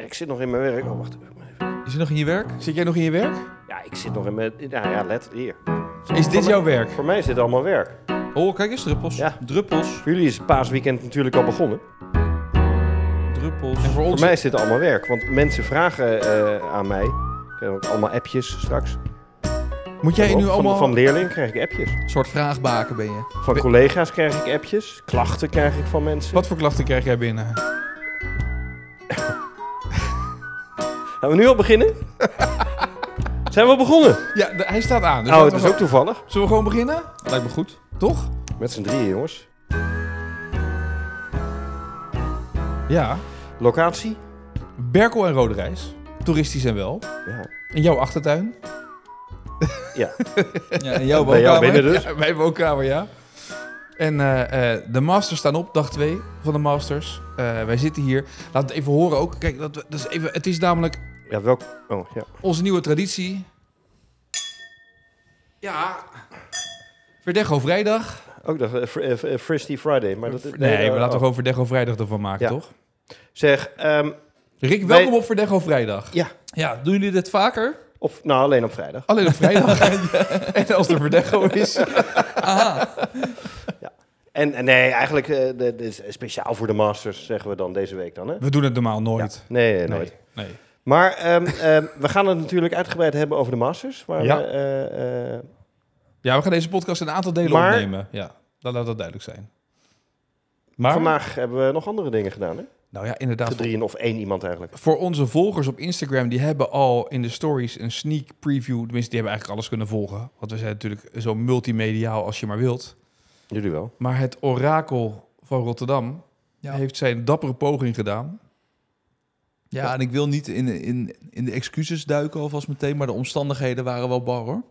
ik zit nog in mijn werk. Oh, wacht even. Is het nog in je werk? Zit jij nog in je werk? Ja, ik zit nog in mijn... Nou ja, let hier. Is dit mij- jouw werk? Voor mij is dit allemaal werk. Oh, kijk eens, druppels. Ja. Druppels. Voor jullie is het paasweekend natuurlijk al begonnen. Druppels. En voor ons... Voor mij is dit allemaal werk. Want mensen vragen eh, aan mij. Ik heb ook allemaal appjes straks. Moet jij Ook nu van, allemaal... van leerlingen krijg ik appjes. Een soort vraagbaken ben je. Van collega's krijg ik appjes. Klachten krijg ik van mensen. Wat voor klachten krijg jij binnen? Gaan we nu al beginnen? Zijn we al begonnen? Ja, de- hij staat aan. Dus oh, laten het we is ook gewoon- toevallig. Zullen we gewoon beginnen? Lijkt me goed. Toch? Met z'n drieën, jongens. Ja. Locatie? Berkel en Roderijs. Toeristisch en wel. Ja. In jouw achtertuin. ja. Ja, in jouw Bij jou binnen dus. Ja, mijn woonkamer, ja. En eh, eh, de Masters staan op, dag 2 van de Masters. Eh, wij zitten hier. Laat het even horen ook. Kijk, dat, dat is even, het is namelijk Ja, welk... Oh, ja. onze nieuwe traditie. Ja. Verdecho Vrijdag. Ook dat eh, fr- eh, eh, Fristy Friday. Maar dat, Nee, we eh, laten oh. gewoon Verdecho Vrijdag ervan maken, Ja. toch? Zeg, ehm, Rick, Wij- welkom op Verdecho Vrijdag. Ja. Ja, doen jullie dit vaker? of, nou, alleen op vrijdag. Alleen op vrijdag. En als er Verdecho is. En en nee, eigenlijk eh, de- de- speciaal voor de Masters zeggen we dan deze week dan, hè? We doen het normaal nooit. Nee, nee, nooit. Nee. Maar ehm, ehm, we gaan het natuurlijk uitgebreid hebben over de Masters. Waar Ja. we, eh, eh, Ja, we gaan deze podcast in een aantal delen Maar- opnemen. Ja, dat laat dat duidelijk zijn. Maar, Vandaag hebben we nog andere dingen gedaan, hè? nou ja, inderdaad. Te drieën of één iemand eigenlijk. Voor onze volgers op Instagram, die hebben al in de stories een sneak preview. Tenminste, die hebben eigenlijk alles kunnen volgen. Want we zijn natuurlijk zo multimediaal als je maar wilt. Jullie wel. Maar het orakel van Rotterdam Ja. heeft zijn dappere poging gedaan. Ja, en ik wil niet in, in, in de excuses duiken alvast meteen, maar de omstandigheden waren wel bar hoor.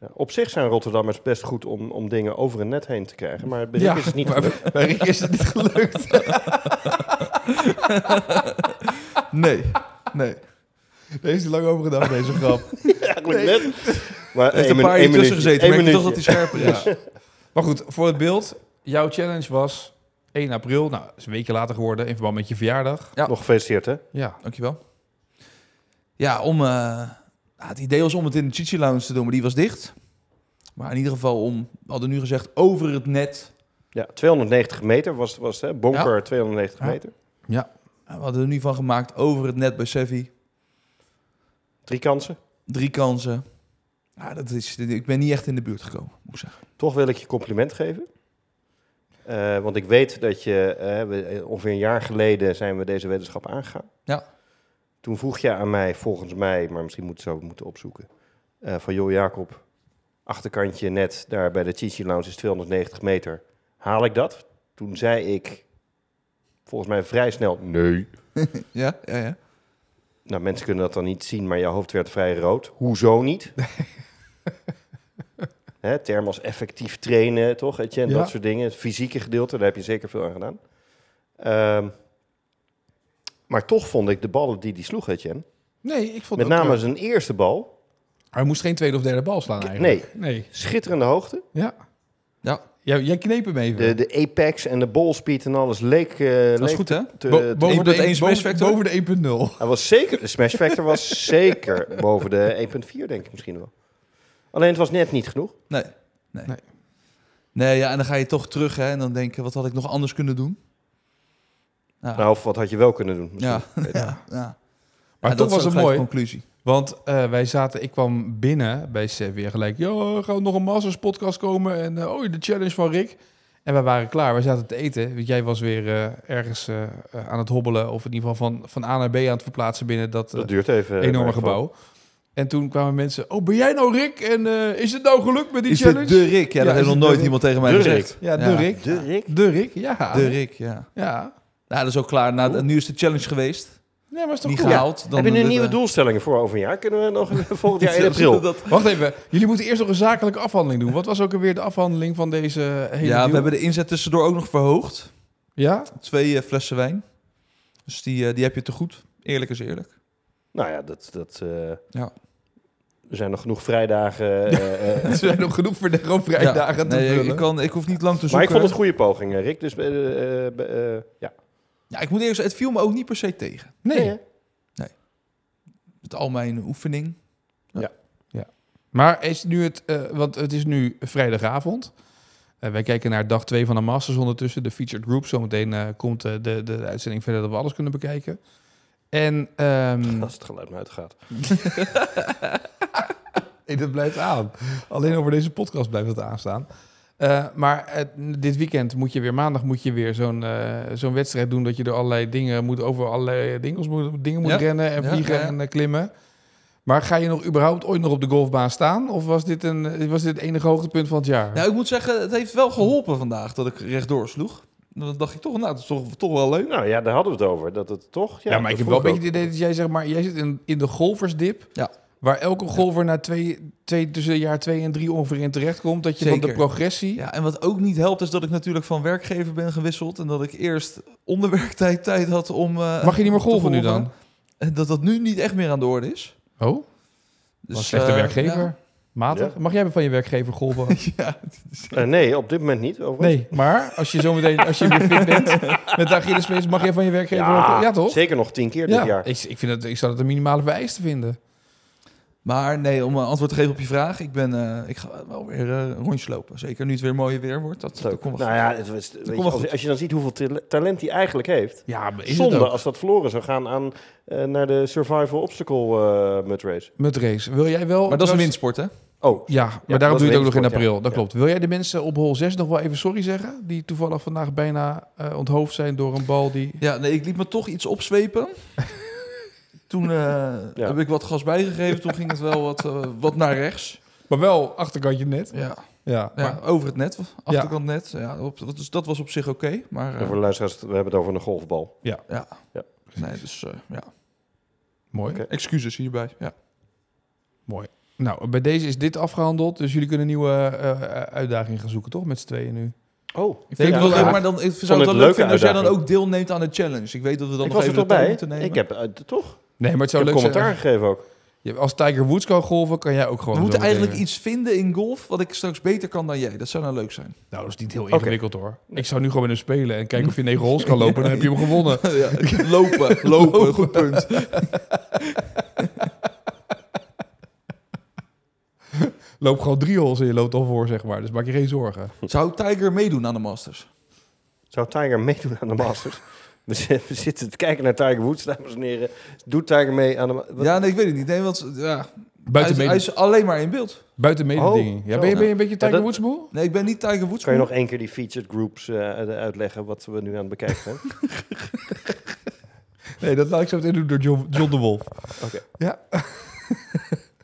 Ja, op zich zijn Rotterdammers best goed om, om dingen over een net heen te krijgen, maar bij Rick is het niet maar gelukt. bij Rick is het niet gelukt. Nee, nee. Deze is er lang over gedaan, deze grap. Eigenlijk net. Maar Er heeft één een min- paar één uur tussen minuutje, gezeten, één maar ik dacht dat hij minuutje. scherper is. Ja. Maar goed, voor het beeld. Jouw challenge was 1 april. Nou, is een weekje later geworden in verband met je verjaardag. Ja. Nog gefeliciteerd, hè? Ja. Dankjewel. Ja, om, eh, nou, het idee was om het in de Chichi Lounge te doen, maar die was dicht. Maar in ieder geval om, we hadden nu gezegd, over het net. Ja, 290 meter was, was hè? Bonker 290 Ja. meter. We hadden er nu van gemaakt, over het net bij Sevi. Drie kansen. Drie kansen. Nou, dat is, ik ben niet echt in de buurt gekomen, moet ik zeggen. Toch wil ik je compliment geven. Eh, want ik weet dat je, eh, we- eh, ongeveer een jaar geleden zijn we deze wetenschap aangegaan. Ja. Toen vroeg je aan mij, volgens mij, maar misschien moet, zou ik het moeten opzoeken, eh, van joh Jacob, achterkantje net daar bij de Chichi Lounge is 290 meter. Haal ik dat? Toen zei ik, volgens mij vrij snel, nee. Ja, ja, ja. Nou, mensen kunnen dat dan niet zien, maar jouw hoofd werd vrij rood. Hoezo niet? Hè, termen als effectief trainen, toch? Etje, en Ja. dat soort dingen. Het fysieke gedeelte, daar heb je zeker veel aan gedaan. Ehm, maar toch vond ik de ballen die die sloeg, Oh, Etienne. Nee, ik vond Met het ook, name eh, zijn eerste bal. Hij moest geen tweede of derde bal slaan eigenlijk. Nee, Nee. schitterende hoogte. Ja. Ja. Jij, jij kneep hem even. De, de apex en de ballspeed en alles leek... eh, Dat is leek goed, hè? te- Bo- te- boven, de één een- smash boven, factor? boven de 1.0. Hij was zeker, de smash factor was zeker boven de 1.4, denk ik misschien wel. Alleen het was net niet genoeg. Nee. Nee. Nee. Nee, ja, en dan ga je toch terug hè, en dan denken, wat had ik nog anders kunnen doen? Ja, Nou, of wat had je wel kunnen doen? misschien. ja, Ja. ja. Maar Ja, toch was dat is het ook gelijk mooi. de conclusie. Want eh, wij zaten, ik kwam binnen bij Sevi en gelijk, "Yo, er gaat nog een Masters podcast komen en eh, oh, de challenge van Rick. En wij waren klaar, wij zaten te eten. Want jij was weer eh, ergens eh, eh, aan het hobbelen of in ieder geval van, van A naar B aan het verplaatsen binnen dat, eh, Dat duurt even. in enorme ieder geval. gebouw. En toen kwamen mensen, oh ben jij nou Rick en eh, is het nou gelukt met die Is challenge? dit de Rick? Ja, Ja, dat is heeft nog het nooit de iemand tegen mij De gezegd. Ja, de Ja. Rick. De Rick? De Rick, ja. De Rick, ja. Ja. Nou, dat is ook klaar. Na, nu is de challenge geweest. Nee, maar is toch Niet cool? gehaald. Dan Heb je nu de- nieuwe de- doelstellingen voor over een jaar? Kunnen we nog volgend Ja, jaar in april? dat- Wacht even, jullie moeten eerst nog een zakelijke afhandeling doen. Wat was ook alweer de afhandeling van deze hele ja, deal? we hebben de inzet tussendoor ook nog verhoogd. Ja? Twee eh, flessen wijn. Dus die, eh, die heb je te goed. Eerlijk is eerlijk. Nou ja, dat... dat eh, Ja. Er zijn nog genoeg vrijdagen. eh, eh. Er zijn nog genoeg voor de vrijdagen Ja. te Nee, vullen. ik, kan, ik hoef niet lang te zoeken. maar ik vond het een goede poging, eh, Rick. Dus eh, eh, eh, eh, ja. Ja, ik moet eerlijk zeggen, het viel me ook niet per se tegen. Nee. hè? Met al mijn oefening. Maar is nu het, eh, want het is nu vrijdagavond. Eh, wij kijken naar dag 2 van de Masters ondertussen, de featured group. Zometeen eh, komt eh, de, de uitzending verder dat we alles kunnen bekijken. En ehm, Als het geluid maar uitgaat. nee, dat blijft aan. Alleen over deze podcast blijft het aanstaan. Eh, maar eh, dit weekend moet je weer, maandag moet je weer zo'n eh, zo'n wedstrijd doen... dat je door allerlei dingen moet, over allerlei dingels moet, dingen moet Ja. rennen en Ja, vliegen ja, ja. en eh, klimmen. Maar ga je nog überhaupt ooit nog op de golfbaan staan? Of was dit, een, eh, was dit het enige hoogtepunt van het jaar? Nou, ik moet zeggen, het heeft wel geholpen vandaag dat ik rechtdoor sloeg. Dan dacht ik toch, nou, dat is toch, toch wel leuk. Nou ja, daar hadden we het over. Dat het toch... Ja, maar dat ik heb wel vond een beetje het idee dat jij zeg maar, jij zit in, in de golfersdip. Ja. Waar elke golfer na twee, twee, tussen jaar twee en drie ongeveer in terecht komt. Dat je van de Zeker. progressie. Ja, en wat ook niet helpt is dat ik natuurlijk van werkgever ben gewisseld. En dat ik eerst onder werktijd tijd had om... eh, Mag je niet meer te golven nu dan? En dat dat nu niet echt meer aan de orde is. Oh, Dus, was slechte eh, werkgever. ja. Matig. Mag jij van je werkgever golven? Eh, nee, op dit moment niet. overigens. nee. Maar als je zometeen, als je weer fit bent met de Achillespees, mag jij van je werkgever Ja, golven? Ja, toch? Zeker nog tien keer dit Ja, jaar. ik, ik, vind dat, ik zou dat een minimale vereiste vinden. Maar nee, om een antwoord te geven op je vraag. Ik, ben, eh, ik ga wel weer eh, rondjes lopen. Zeker nu het weer mooier weer wordt. Dat, dat Leuk. komt Nou wel ja, het was- weet je, wel als, goed. als je dan ziet hoeveel tale- talent hij eigenlijk heeft. Ja, maar is Zonde het ook? als dat verloren zou gaan aan, eh, naar de Survival Obstacle eh Mud Race. Met race. Wil jij wel... Maar dat is een trouwens- winsport, hè? Oh, Ja, maar Ja, daarom dat doe is je het ook nog in wetenschap, ja. april. Dat Ja. klopt. Wil jij de mensen op hol 6 nog wel even sorry zeggen? Die toevallig vandaag bijna eh, onthoofd zijn door een bal die... Ja, nee, ik liet me toch iets opzwepen. Toen eh, heb ik wat gas bijgegeven. Toen ging het wel wat, eh, wat naar rechts. Maar wel achterkantje net. Ja, Ja, ja, maar- over het net, achterkant net. Ja, op, dat- dus dat was op zich oké. maar eh, voor de luisteraars, we hebben het over een golfbal. ja. Ja. Nee, dus eh, ja. mooi. Oké. Excuses hierbij. Ja. Nou, bij deze is dit afgehandeld. Dus jullie kunnen een nieuwe eh, eh, uitdaging gaan zoeken, toch? Met z'n tweeën nu. Oh, Ik vind ja, het wel ja. leuk, maar dan, ik zou het het wel leuke leuk vinden als jij dan uitdaging. ook deelneemt aan de challenge. Ik weet dat we dan ik nog was even er toch de tijd bij? moeten nemen. Ik heb eh, toch Nee, maar het ik zou heb leuk commentaar zijn. gegeven ook. Je- Als Tiger Woods kan golven, kan jij ook Oh, gewoon We moeten zometeen eigenlijk weer. iets vinden in golf wat ik straks beter kan dan jij. Dat zou nou leuk zijn. Nou, dat is niet heel Oké. ingewikkeld, hoor. Ik zou nu gewoon met hem spelen en kijken of je negen holes kan lopen. Dan heb je hem gewonnen. ja, lopen, lopen, goed punt. Loop gewoon drie holes en je loopt al voor, zeg maar. Dus maak je geen zorgen. Zou Tiger meedoen aan de Masters? Zou Tiger meedoen aan de Masters? we, zi- we zitten te kijken naar Tiger Woods, dames en heren. Doet Tiger mee aan de... ma- wat- Ja, nee, ik weet het niet. Nee, want ja, hij, Buiten, is, hij mede, is alleen maar in beeld. buiten mededinging. Oh, ja, zo. ben, je, ben je een beetje Tiger dat- Woods moe? Nee, ik ben niet Tiger Woods. Kan je nog één keer die featured groups eh, uitleggen wat we nu aan het bekijken zijn? Nee, dat laat ik zo meteen doen door John, John de Wolf. Oké. Ja.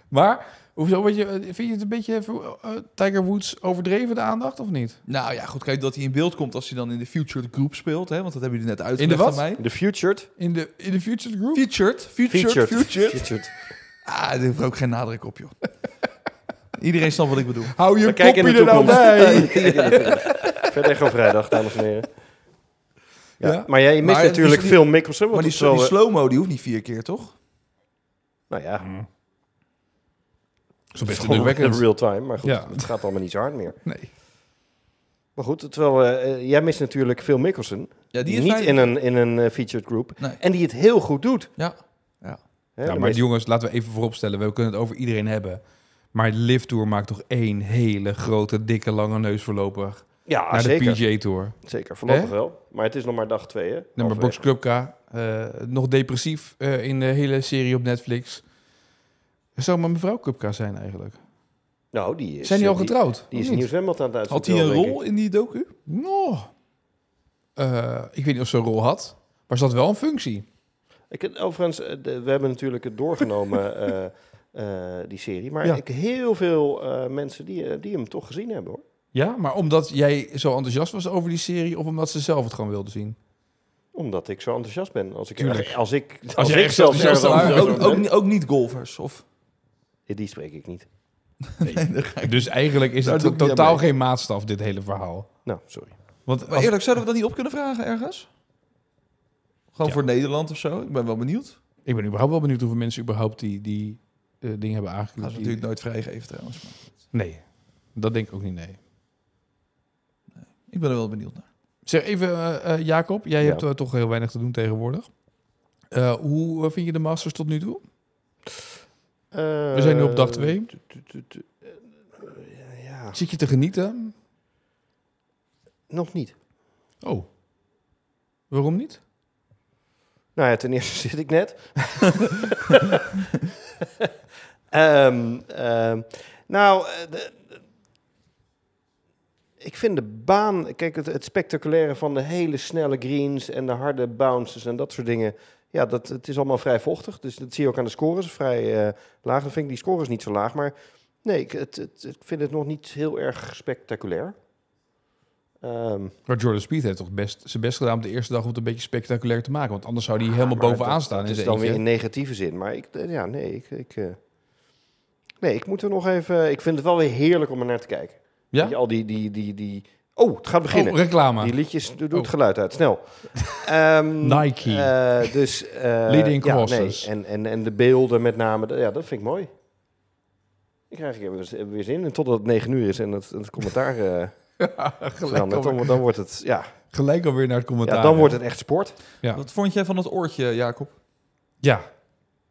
maar, hoezo, wat je, vind je het een beetje eh, Tiger Woods overdreven, de aandacht, of niet? Nou ja, goed, kijk dat hij in beeld komt als hij dan in de Future Group speelt. Hè, want dat hebben jullie net In de uitgelegd wat? aan mij. De featured? In de, in de Future Group? Featured, featured, Featured. featured. Featured. Ah, daar heeft ook geen nadruk op, joh. Iedereen snapt wat ik bedoel. Hou je We kijken in kopje de er nou toekomst. bij! Verder op vrijdag, dames en heren. Ja, Ja. Maar jij mist Maar natuurlijk die- veel Mickelson. Want Maar die, dat slo- is die wel, slow-mo, die hoeft niet vier keer, toch? eh, Nou ja, Zo Mm, best Gewoon in indrukwekkend. real time, maar goed, Ja. het gaat allemaal niet zo hard meer. Nee. Maar goed, terwijl eh, eh, jij mist natuurlijk Phil Mickelson, Ja, die is niet fijn. in een, in een eh, featured group, Nee. en die het heel goed doet. Ja. Hè, Ja, de maar meeste- jongens, laten we even vooropstellen, we kunnen het over iedereen hebben. Maar Live Tour maakt toch één hele grote, dikke, lange neus voorlopig. ja naar Ah, zeker, de PGA Tour. zeker, voorlopig Hè? wel. Maar het is nog maar dag twee, hè? Nee, maar Box Halverwege. Clubka, eh, nog depressief eh, in de hele serie op Netflix. Zou maar mevrouw Kupka zijn eigenlijk. Nou, die is... zijn die eh, al getrouwd? Die, is een Of nieuw niet? zwembad aan het Had uitzoeken. hij een rol in die docu? Nou, eh, ik weet niet of ze een rol had, maar ze had wel een functie. Ik, heb- overigens, eh, de- we hebben natuurlijk het doorgenomen, eh, eh, die serie. Maar Ja. ik, heel veel eh, mensen die, eh, die hem toch gezien hebben, hoor. Ja, maar omdat jij zo enthousiast was over die serie of omdat ze zelf het gewoon wilde zien? Omdat ik zo enthousiast ben. Als ik, Tuurlijk. Als ik, als jij ik echt zelf enthousiast ergens bent, enthousiast ook, ben. ook, ook niet golfers, of? Ja, Die spreek ik niet. Dus eigenlijk is Daar het doe ik niet totaal aan mee. geen maatstaf, dit hele verhaal. Nou, sorry. Want Maar als- eerlijk, zouden we dat niet op kunnen vragen ergens? Gewoon Ja. voor Nederland of zo? Ik ben wel benieuwd. ik ben überhaupt wel benieuwd hoeveel mensen überhaupt die, die eh, dingen hebben Gaan aangeklikt. ze natuurlijk nooit vrijgeven trouwens. Maar Nee, dat denk ik ook niet, nee. ik ben er wel benieuwd naar. Zeg even, eh, eh, Jacob, jij Ja. hebt eh, toch heel weinig te doen tegenwoordig. Eh, hoe eh, vind je de Masters tot nu toe? We zijn nu op Eh, dag twee. t- t- t- t- eh, eh, Ja, Zit je te genieten? nog niet. Oh. Waarom niet? Nou ja, ten eerste zit ik net. Ehm, ehm, nou, eh, de- de- ik vind de baan, kijk, het, het spectaculaire van de hele snelle greens en de harde bounces en dat soort dingen. Ja, dat, het is allemaal vrij vochtig. Dus dat zie je ook aan de scores, vrij eh, laag. Dan vind ik die scores niet zo laag. Maar nee, ik, het, het- ik vind het nog niet heel erg spectaculair. Ehm, Maar Jordan Speed heeft toch best, zijn best gedaan om de eerste dag om het een beetje spectaculair te maken. Want anders zou hij Ja, helemaal maar bovenaan dat- staan. Dat in is zijn dan weer eentje. in negatieve zin. Maar ik, eh, ja, nee, ik, ik, eh, nee, ik moet er nog even. Ik vind het wel weer heerlijk om er naar te kijken. Ja? Weet je, al die, die, die, die. Oh, het gaat beginnen. Oh, reclame. die liedjes, doe doe het Oh. geluid uit, snel. Ehm, Nike. eh, dus, eh, Leading ja, crosses. nee, en, en, en de beelden met name, d- ja, dat vind ik mooi. Ik krijg er weer- weer zin in, totdat het negen uur is en het, het commentaar eh gelijk, verandert. alweer, Dan, dan wordt het, ja, gelijk alweer naar het commentaar. ja, dan wordt het echt sport. Ja. Wat vond jij van dat oortje, Jacob? Ja.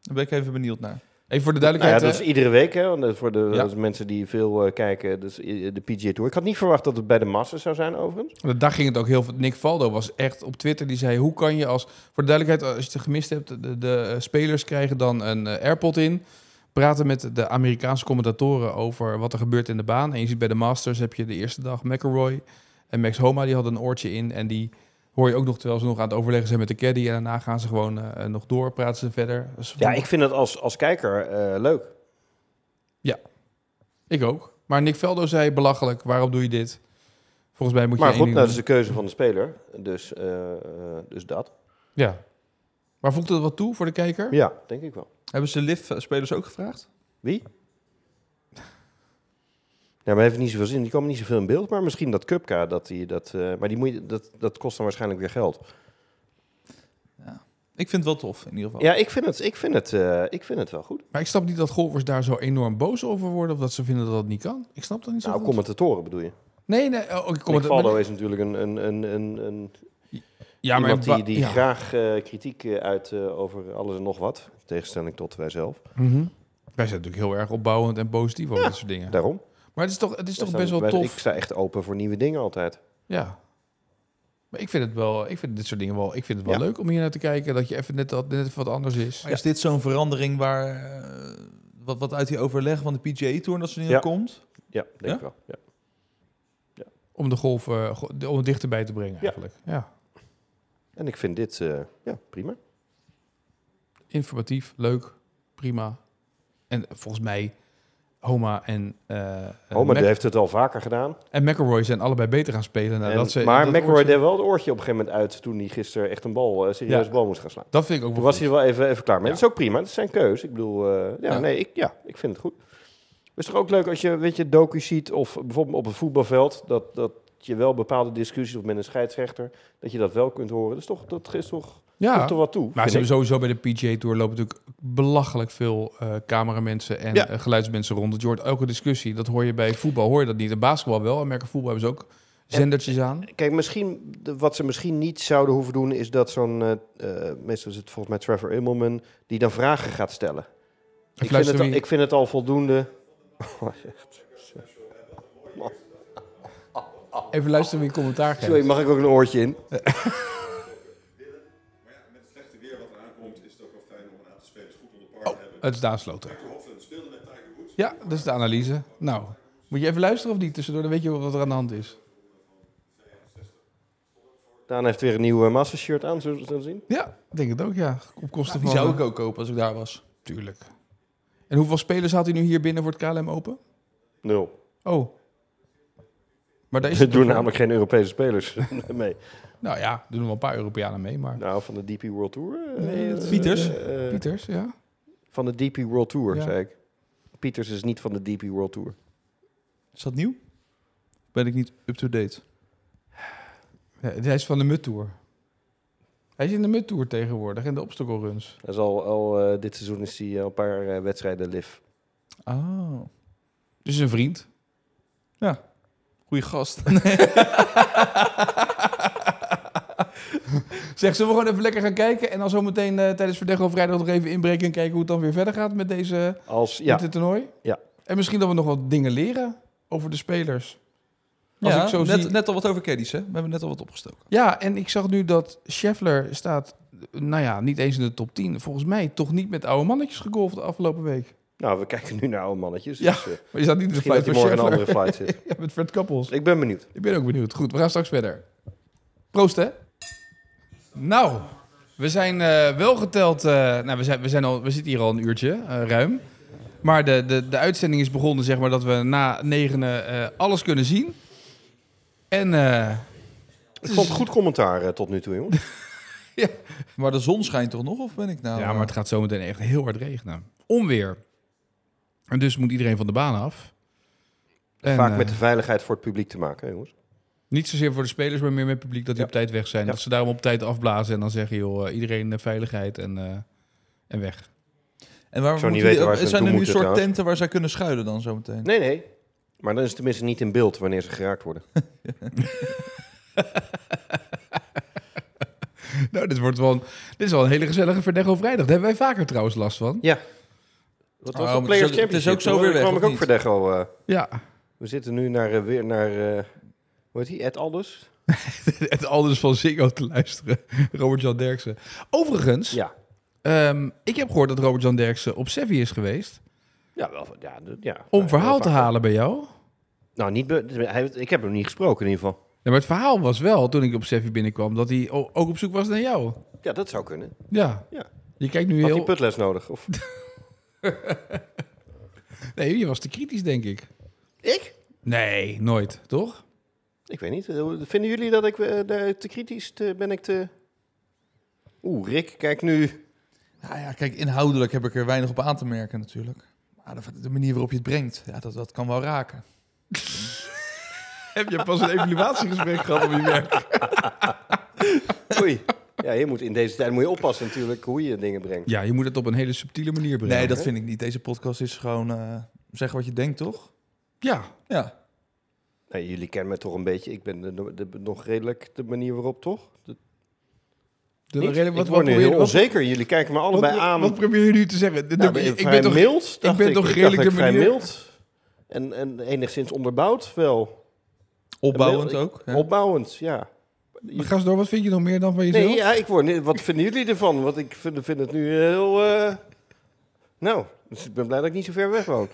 Daar ben ik even benieuwd naar. Even voor de Nou ja, duidelijkheid. dat is hè? iedere week, hè? Want eh, voor de Ja. als mensen die veel eh, kijken, dus i- de PGA Tour. Ik had niet verwacht dat het bij de massa zou zijn, overigens. Daar ging het ook heel veel. Nick Valdo was echt op Twitter. Die zei: Hoe kan je als. Voor de duidelijkheid, als je het gemist hebt, de, de eh, spelers krijgen dan een eh, AirPod in. Praten met de Amerikaanse commentatoren over wat er gebeurt in de baan. En je ziet bij de Masters heb je de eerste dag McElroy en Max Homa. Die hadden een oortje in. En die hoor je ook nog terwijl ze nog aan het overleggen zijn met de caddy. En daarna gaan ze gewoon eh, nog door. Praten ze verder. Dus Ja, ik vind het als, als kijker eh, leuk. ik ook. Maar Nick Valdo zei: Belachelijk, waarom doe je dit? Volgens mij moet je. Maar één goed, ding nou, dat doen. is de keuze van de speler. Dus, eh, eh, dus dat. Ja. Maar voegt dat wat toe voor de kijker? Ja, denk ik wel. Hebben ze LIV-spelers ook gevraagd? Wie? Ja, maar heeft niet zoveel zin. Die komen niet zoveel in beeld. Maar misschien dat Cupka, dat die, dat, eh, maar die moet je, dat, dat kost dan waarschijnlijk weer geld. Ik vind het wel tof, in ieder geval. Ja, ik vind het, ik vind het, eh, ik vind het wel goed. Maar ik snap niet dat golfers daar zo enorm boos over worden. Of dat ze vinden dat dat niet kan. Ik snap dat niet zo Nou, goed. commentatoren bedoel je. Nee, nee. Oh, ik kom Nick Faldo is natuurlijk een, een, een, een, een Ja, maar... Iemand die, die ja. graag eh, kritiek eh, uit eh, over alles en nog wat. In tegenstelling tot wij zelf. Mhm. Wij zijn natuurlijk heel erg opbouwend en positief over dit soort dingen. Daarom. Maar het is toch, het is Wij toch staan- best wel wij- tof. Ik sta echt open voor nieuwe dingen altijd. Ja. Maar ik vind het wel... Ik vind dit soort dingen wel... Ik vind het wel Ja. leuk om hier naar te kijken. Dat je even net, dat, net even wat anders is. Maar is dit zo'n verandering waar... eh, wat, wat uit die overleg van de PGA Tour en dat soort dingen Ja. komt? Ja, denk Ja? ik wel. Ja. Om de golf... eh, go- om het dichterbij te brengen eigenlijk. Ja. En ik vind dit eh, ja, prima. Informatief. Leuk. Prima. En volgens mij... Homa en... eh, eh, Homer Mac- heeft het al vaker gedaan. En McElroy zijn allebei beter gaan spelen. En- nadat ze, maar Nou, dat McElroy oortje- deed wel het oortje op een gegeven moment uit... toen hij gisteren echt een bal, eh, serieus Ja. bal moest gaan slaan. Dat vind ik ook wel Toen was goed. hij er wel even, even klaar mee. Ja. Dat is ook prima. Dat is zijn keus. Ik bedoel, eh, ja, Ja. nee, ik, ja, ik vind het goed. Het is toch ook leuk als je, weet je, docu ziet of bijvoorbeeld op het voetbalveld dat, dat je wel bepaalde discussies of met een scheidsrechter dat je dat wel kunt horen. Dat is toch, dat geeft toch, Ja, voegt toch wat toe. maar vind ze hebben ik. sowieso bij de PGA Tour lopen natuurlijk belachelijk veel eh, cameramensen en Ja. eh, geluidsmensen rond. Dat je hoort elke discussie. Dat hoor je bij voetbal, hoor je dat niet. En basketbal wel. En merken voetbal hebben ze ook zendertjes aan. Kijk, misschien de- wat ze misschien niet zouden hoeven doen is dat zo'n eh, eh, meestal is het volgens mij Trevor Immelman die dan vragen gaat stellen. En Ik vind, het fluisteren al, wie- ik vind het al voldoende. Even luisteren wie een commentaar geeft. Sorry, mag ik ook een oortje in? Maar ja, met het slechte weer wat eraan komt, is het ook wel fijn om een aantal spelers goed onder par te hebben. Oh, Het is Daan Sloter. Michael Hoffman speelde met Tiger Woods. Ja, dat is de analyse. Nou, moet je even luisteren of niet? Tussendoor dan weet je wat er aan de hand is. Daan heeft weer een nieuw uh, shirt aan, zullen we zullen we zien? Ja, ik denk het ook, ja. Op kosten Die van... eh, zou ik ook kopen als ik daar was. Tuurlijk. En hoeveel spelers had hij nu hier binnen voor het KLM Open? Nul. Oh. Maar daar is Ze het doen toch- namelijk geen Europese spelers mee. Nou ja, doen er wel een paar Europeanen mee, maar... Nou, van de DP World Tour. eh, Nee, dat- Pieters? eh, eh, Pieters, ja. van de DP World Tour, Ja. zei ik. Pieters is niet van de DP World Tour. Is dat nieuw? Ben ik niet up-to-date? Ja, Hij is van de Mud Tour. Hij is in de Mud Tour tegenwoordig, in de obstacle runs. Hij is al, al eh, dit seizoen is hij al een paar eh, wedstrijden live. Ah, Dus een vriend. goede gast. Zeg, zullen we gewoon even lekker gaan kijken? En dan zometeen meteen tijdens Verdego vrijdag nog even inbreken en kijken hoe het dan weer verder gaat met, deze, eh, Als, ja, met dit toernooi? Ja. En misschien dat we nog wat dingen leren over de spelers. Als ja, ik zo net, zie- net al wat over caddies, hè? We hebben net al wat opgestoken. Ja, en ik zag nu dat Scheffler staat, nou ja, niet eens in de top 10. Volgens mij toch niet met oude mannetjes gegolfd de afgelopen week. nou, we kijken nu naar oude mannetjes. Ja, dus, eh, Maar je staat niet in de misschien dat flight je van morgen in een Scheffler. andere flight zit. Ja, met Fred Kappels. Ik ben benieuwd. Ik ben ook benieuwd. Goed, we gaan straks verder. Proost, hè? Nou, we zijn eh, wel geteld... eh, nou, we, zijn, we, zijn al, we zitten hier al een uurtje, eh, ruim. Maar de, de, de uitzending is begonnen, zeg maar, dat we na negenen eh, alles kunnen zien. En eh, Ik vond het goed commentaar eh, tot nu toe, jongen. Maar de zon schijnt toch nog, of ben ik nou... Ja, maar het gaat zometeen echt heel hard regenen. Onweer. En dus moet iedereen van de baan af. En, Vaak eh, met de veiligheid voor het publiek te maken, hè, jongens. Niet zozeer voor de spelers, maar meer met het publiek dat die op tijd weg zijn. Ja. Dat ze daarom op tijd afblazen en dan zeggen, joh, eh, iedereen eh, veiligheid en, eh, en weg. En waar Ik zou niet moeten weten die- waar ze Zijn er naartoe nu een soort moeten trouwens. tenten waar zij kunnen schuilen dan zometeen? Nee, nee. Maar dan is het tenminste niet in beeld wanneer ze geraakt worden. Nou, dit, wordt wel een, dit is wel een hele gezellige Verdecho vrijdag. Daar hebben wij vaker trouwens last van. Ja. Dat was Oh, maar de het Players is ook- het is Championship. ook zo Toen weer weg, kwam of ik ook niet? voor Decho. eh, Ja, we zitten nu naar, eh, weer naar... eh, hoe heet die? Ed Alders? het alles van Ziggo te luisteren. Robert-Jan Derksen. Overigens, Ja. ehm, ik heb gehoord dat Robert-Jan Derksen op Sevi is geweest Ja, wel, van- ja, de- ja. om Ja, verhaal heel te vaak. halen bij jou. Nou, niet be- hij, ik heb hem niet gesproken in ieder geval. Ja, maar het verhaal was wel, toen ik op Seffi binnenkwam, dat hij o- ook op zoek was naar jou. Ja, dat zou kunnen. Ja. Ja. Je kijkt nu Had hij heel... putles nodig? Of... Nee, je was te kritisch, denk ik. ik? Nee, nooit, toch? Ik weet niet. Eh, hoe- Vinden jullie dat ik eh, daar te kritisch te, ben? Ik te... Oeh, Rick, kijk nu. Nou ja, kijk, inhoudelijk heb ik er weinig op aan te merken natuurlijk. Maar de, de manier waarop je het brengt, ja, dat, dat kan wel raken. Heb je pas een evaluatiegesprek gehad op je werk? Oei. Ja, je moet in deze tijd moet je oppassen natuurlijk hoe je dingen brengt. Ja, je moet het op een hele subtiele manier brengen. Nee, dat vind ik niet. Deze podcast is gewoon eh zeggen wat je denkt, toch? Ja. Ja. Nou, jullie kennen me toch een beetje. Ik ben de, de- nog redelijk de manier waarop, toch? De, De niet? reden- ik word nu probeer je- heel onzeker. Jullie kijken me wat, allebei wat, aan. wat probeer je nu te zeggen? De- de- Nou, ik, vrij ben toch, mild, dacht ben toch dacht redelijk dat de ik vrij manier- mild en, en enigszins onderbouwd wel. Opbouwend Ik- ook. Ja. Opbouwend, ja. ga eens door, wat vind je nog meer dan van jezelf? Nee, ja, ik word, niet- wat vinden jullie ervan? Want ik vind, vind het nu heel... eh, Nou, dus ik ben blij dat ik niet zo ver weg woon.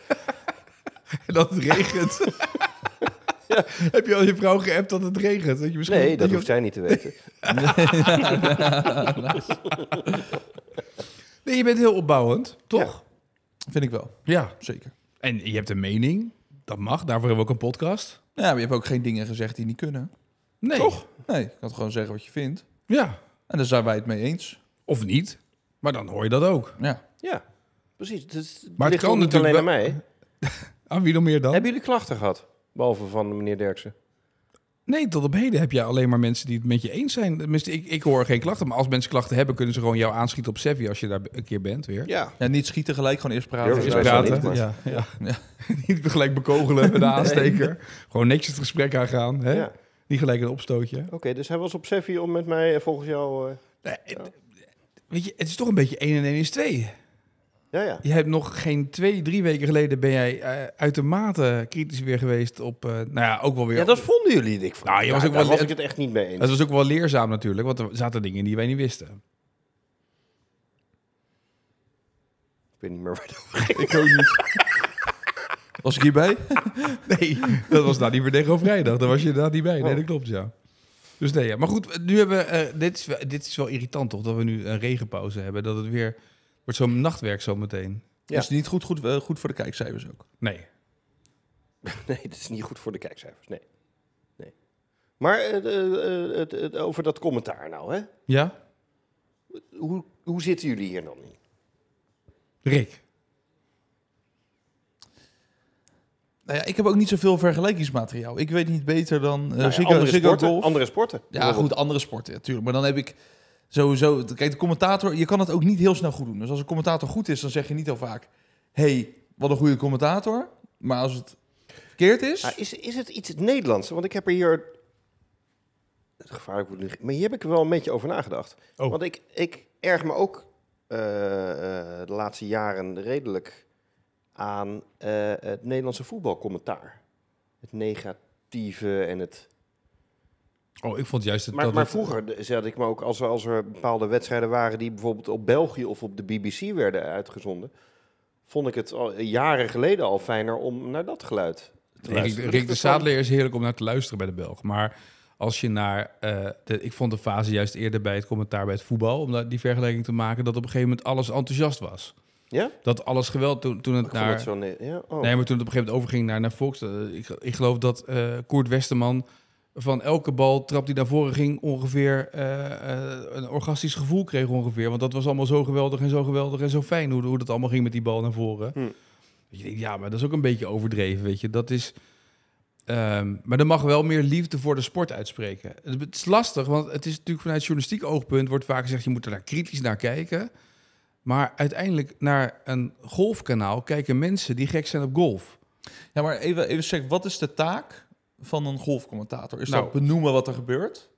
Dat het regent. Heb je al je vrouw geappt dat het regent? Dat je misschien Nee, dat je- hoeft zij niet te weten. nee, je bent heel opbouwend, toch? Vind ik wel, ja. zeker. En je hebt een mening. Dat mag. Daarvoor hebben we ook een podcast. Nou Ja, maar je hebt ook geen dingen gezegd die niet kunnen. Nee. Toch? Nee, je kan gewoon zeggen wat je vindt. Ja. En daar zijn wij het mee eens. Of niet. Maar dan hoor je dat ook. Ja. Ja, precies. Dus Maar maar het ligt kan ook niet alleen natuurlijk aan mij. Aan wie nog meer dan? Hebben jullie klachten gehad? Behalve van meneer Derksen. Nee, tot op heden heb je alleen maar mensen die het met je eens zijn. Tenminste, ik, ik hoor geen klachten. Maar als mensen klachten hebben, kunnen ze gewoon jou aanschieten op Sevi als je daar een keer bent weer. Ja. ja, niet schieten gelijk, gewoon eerst praten. Durven ze Eerst dat is wel praten. niet, maar- ja, ja. Ja. niet gelijk bekogelen met de aansteker. Gewoon netjes het gesprek aangaan. Hè? ja. Niet gelijk een opstootje. Oké, dus hij was op Seffi om met mij eh, volgens jou... eh, Nee, het- Weet je, het is toch een beetje 1 en 1 is 2. Ja, ja. Je hebt nog geen twee, drie weken geleden ben jij eh, uitermate kritisch weer geweest op, eh, nou ja, ook wel weer. Ja, dat vonden jullie. Ik vond, Nou, je was ook daar wel- was ik het echt niet mee dat eens. was ook wel leerzaam natuurlijk, want er zaten dingen die wij niet wisten. Ik weet niet meer waar dat... Ik ook niet. Was ik hierbij? Nee, dat was nou niet meer tegen vrijdag. Daar was je inderdaad niet bij. Nee, dat klopt, ja. Dus nee, ja. Maar goed, nu hebben we, eh, dit, is, wel- dit is wel irritant toch, dat we nu een regenpauze hebben. Dat het weer, wordt zo'n nachtwerk zometeen. Ja. Is niet goed, goed, eh, goed voor de kijkcijfers ook. Nee. Nee, dat is niet goed voor de kijkcijfers. Nee. nee. Maar eh, eh, eh, het, het- over dat commentaar nou, hè. Ja? Hoe, hoe zitten jullie hier Eh, dan in? Rick. Nou ja, ik heb ook niet zoveel vergelijkingsmateriaal. Ik weet niet beter dan eh Nou ja, Ziggo- andere, Ziggo sporten, Golf. andere sporten. Ja, bijvoorbeeld. goed, andere sporten natuurlijk. Maar dan heb ik sowieso... Kijk, de commentator, je kan het ook niet heel snel goed doen. Dus als een commentator goed is, dan zeg je niet heel vaak... hey, wat een goede commentator. Maar als het verkeerd is... Ah, is, is het iets het Nederlands? Want ik heb er hier het gevaarlijk wordt liggen. Maar hier heb ik er wel een beetje over nagedacht. Oh. Want ik, ik erg me ook eh, eh, de laatste jaren redelijk aan eh, het Nederlandse voetbalcommentaar. Het negatieve en het Oh, ik vond juist dat... Maar, dat maar het- vroeger de- zat ik me ook, als er, als er bepaalde wedstrijden waren die bijvoorbeeld op België of op de BBC werden uitgezonden, vond ik het al, jaren geleden al fijner om naar dat geluid te Rick, luisteren. Rick de Zadeleer is heerlijk om naar te luisteren bij de Belg. Maar als je naar... eh, de, ik vond de fase juist eerder bij het commentaar bij het voetbal... om daar die vergelijking te maken... dat op een gegeven moment alles enthousiast was. Ja? Dat alles geweld toen, toen het Ik vond naar... het zo... ne- Ja? Oh. Nee, maar toen het op een gegeven moment overging naar, naar Fox... eh, ik, ik geloof dat eh Koert Westerman... van elke bal trap die naar voren ging... ongeveer eh, eh, een orgastisch gevoel kreeg ongeveer. Want dat was allemaal zo geweldig en zo geweldig en zo fijn... hoe, hoe dat allemaal ging met die bal naar voren. Hm. Dat je denkt, ja, maar dat is ook een beetje overdreven, weet je. Dat is... ehm, maar er mag wel meer liefde voor de sport uitspreken. Het het is lastig, want het is natuurlijk vanuit journalistiek oogpunt... wordt vaak gezegd, je moet er daar kritisch naar kijken... Maar uiteindelijk naar een golfkanaal kijken mensen die gek zijn op golf. Ja, maar even, even check. Wat is de taak van een golfcommentator? Is Nou, dat benoemen wat er gebeurt?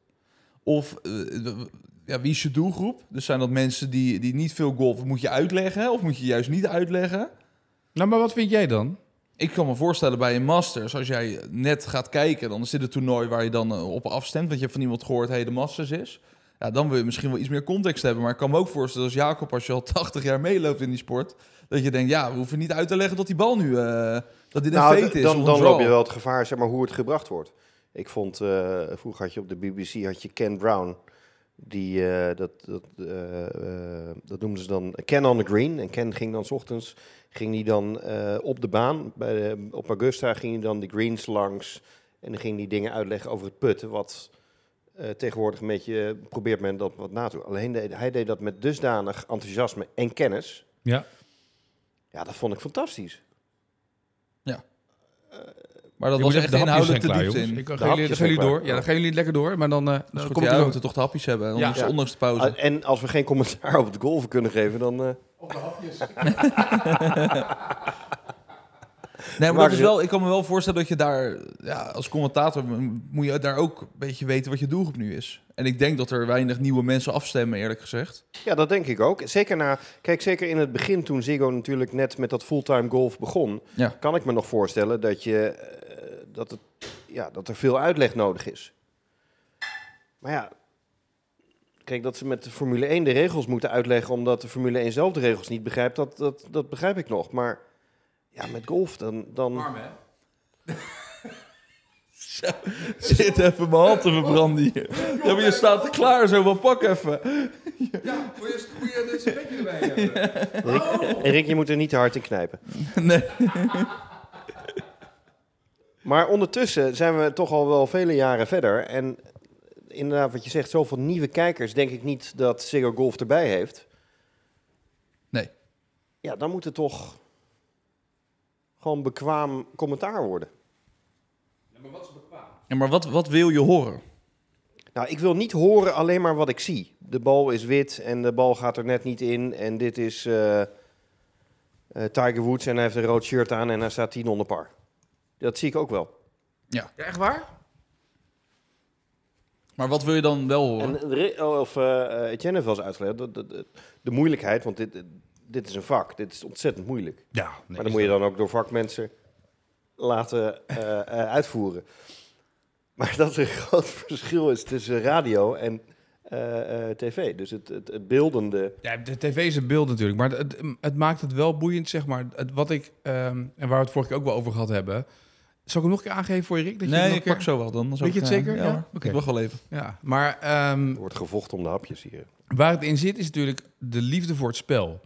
Of eh, de- ja, wie is je doelgroep? Dus zijn dat mensen die, die niet veel golfen? Moet je uitleggen of moet je juist niet uitleggen? Nou, maar wat vind jij dan? Ik kan me voorstellen bij een Masters, als jij net gaat kijken, dan is dit het toernooi waar je dan eh, op afstemt. Want je hebt van iemand gehoord, hé, hey, de Masters is. Ja, dan wil je misschien wel iets meer context hebben. Maar ik kan me ook voorstellen als Jacob, als je al 80 jaar meeloopt in die sport, dat je denkt, ja, we hoeven niet uit te leggen dat die bal nu, eh, dat dit een Nou, feit d- is. dan, of een dan draw. loop je wel het gevaar, zeg maar, hoe het gebracht wordt. Ik vond, eh, vroeger had je op de BBC had je Ken Brown. Die, eh, dat, dat, eh, eh, dat noemden ze dan Ken on the Green. En Ken ging dan 's ochtends ging die dan, eh, op de baan. Bij de- op Augusta ging hij dan de greens langs. En dan ging hij dingen uitleggen over het putten. Wat eh, tegenwoordig een beetje eh, probeert men dat wat na te doen. Alleen deed- hij deed dat met dusdanig enthousiasme en kennis. Ja. Ja, dat vond ik fantastisch. Maar dat was echt inhoudelijk te diepte in. Ik De hapjes gaan jullie, dan gaan zijn jullie klaar. door. Ja, dan gaan jullie lekker door. Maar dan, eh Dus dan goed, kom ik ja, er we ook. moeten toch de hapjes hebben, Ja. anders, Ja. ondanks de pauze. Ah, en als we geen commentaar op de golven kunnen geven, dan... eh, Nee, maar Maak dat is het- wel, ik kan me wel voorstellen dat je daar, ja, als commentator m- moet je daar ook een beetje weten wat je doelgroep nu is. En ik denk dat er weinig nieuwe mensen afstemmen, eerlijk gezegd. Ja, dat denk ik ook. Zeker na... Kijk, zeker in het begin toen Ziggo natuurlijk net met dat fulltime golf begon... Ja. kan ik me nog voorstellen dat, je, eh, dat, het, ja, dat er veel uitleg nodig is. Maar ja... Kijk, dat ze met de Formule 1 de regels moeten uitleggen... omdat de Formule 1 zelf de regels niet begrijpt, dat, dat, dat begrijp ik nog. Maar ja, met golf dan... dan... Zit even mijn hand te verbranden hier. Ja, maar je staat er klaar zo, maar pak even. Ja, moet je, moet je deze plekje erbij hebben? Rick, Rick, je moet er niet te hard in knijpen. Nee. Maar ondertussen zijn we toch al wel vele jaren verder. En inderdaad, wat je zegt, zoveel nieuwe kijkers denk ik niet dat Ziggo Golf erbij heeft. Nee. Ja, dan moet het toch gewoon bekwaam commentaar worden. Ja, maar wat, wat wil je horen? Nou, ik wil niet horen alleen maar wat ik zie. De bal is wit en de bal gaat er net niet in. En dit is eh, eh, Tiger Woods en hij heeft een rood shirt aan en hij staat 10 onder par. Dat zie ik ook wel. Ja, echt waar? Maar wat wil je dan wel horen? En, er- of eh eh, Jennifer was uitgelegd, de, de, de, de moeilijkheid, want dit, dit is een vak, dit is ontzettend moeilijk. Ja. maar dan moet je dan ook door vakmensen laten eh, eh, uitvoeren. Maar dat er een groot verschil is tussen radio en eh, eh, tv. Dus het, het, het beeldende... Ja, de tv is een beeld natuurlijk, maar het, het maakt het wel boeiend, zeg maar. Het, wat ik, ehm, en waar we het vorige keer ook wel over gehad hebben. Zal ik hem nog een keer aangeven voor je, Rick? Dat je hem nee, nog ik een pak keer- zo wel dan. dan zou Weet je ik, het eh, zeker? Ja, Ja? hoor. Oké. Ik wacht wel even. Ja, maar ehm, Er wordt gevochten om de hapjes hier. Waar het in zit is natuurlijk de liefde voor het spel.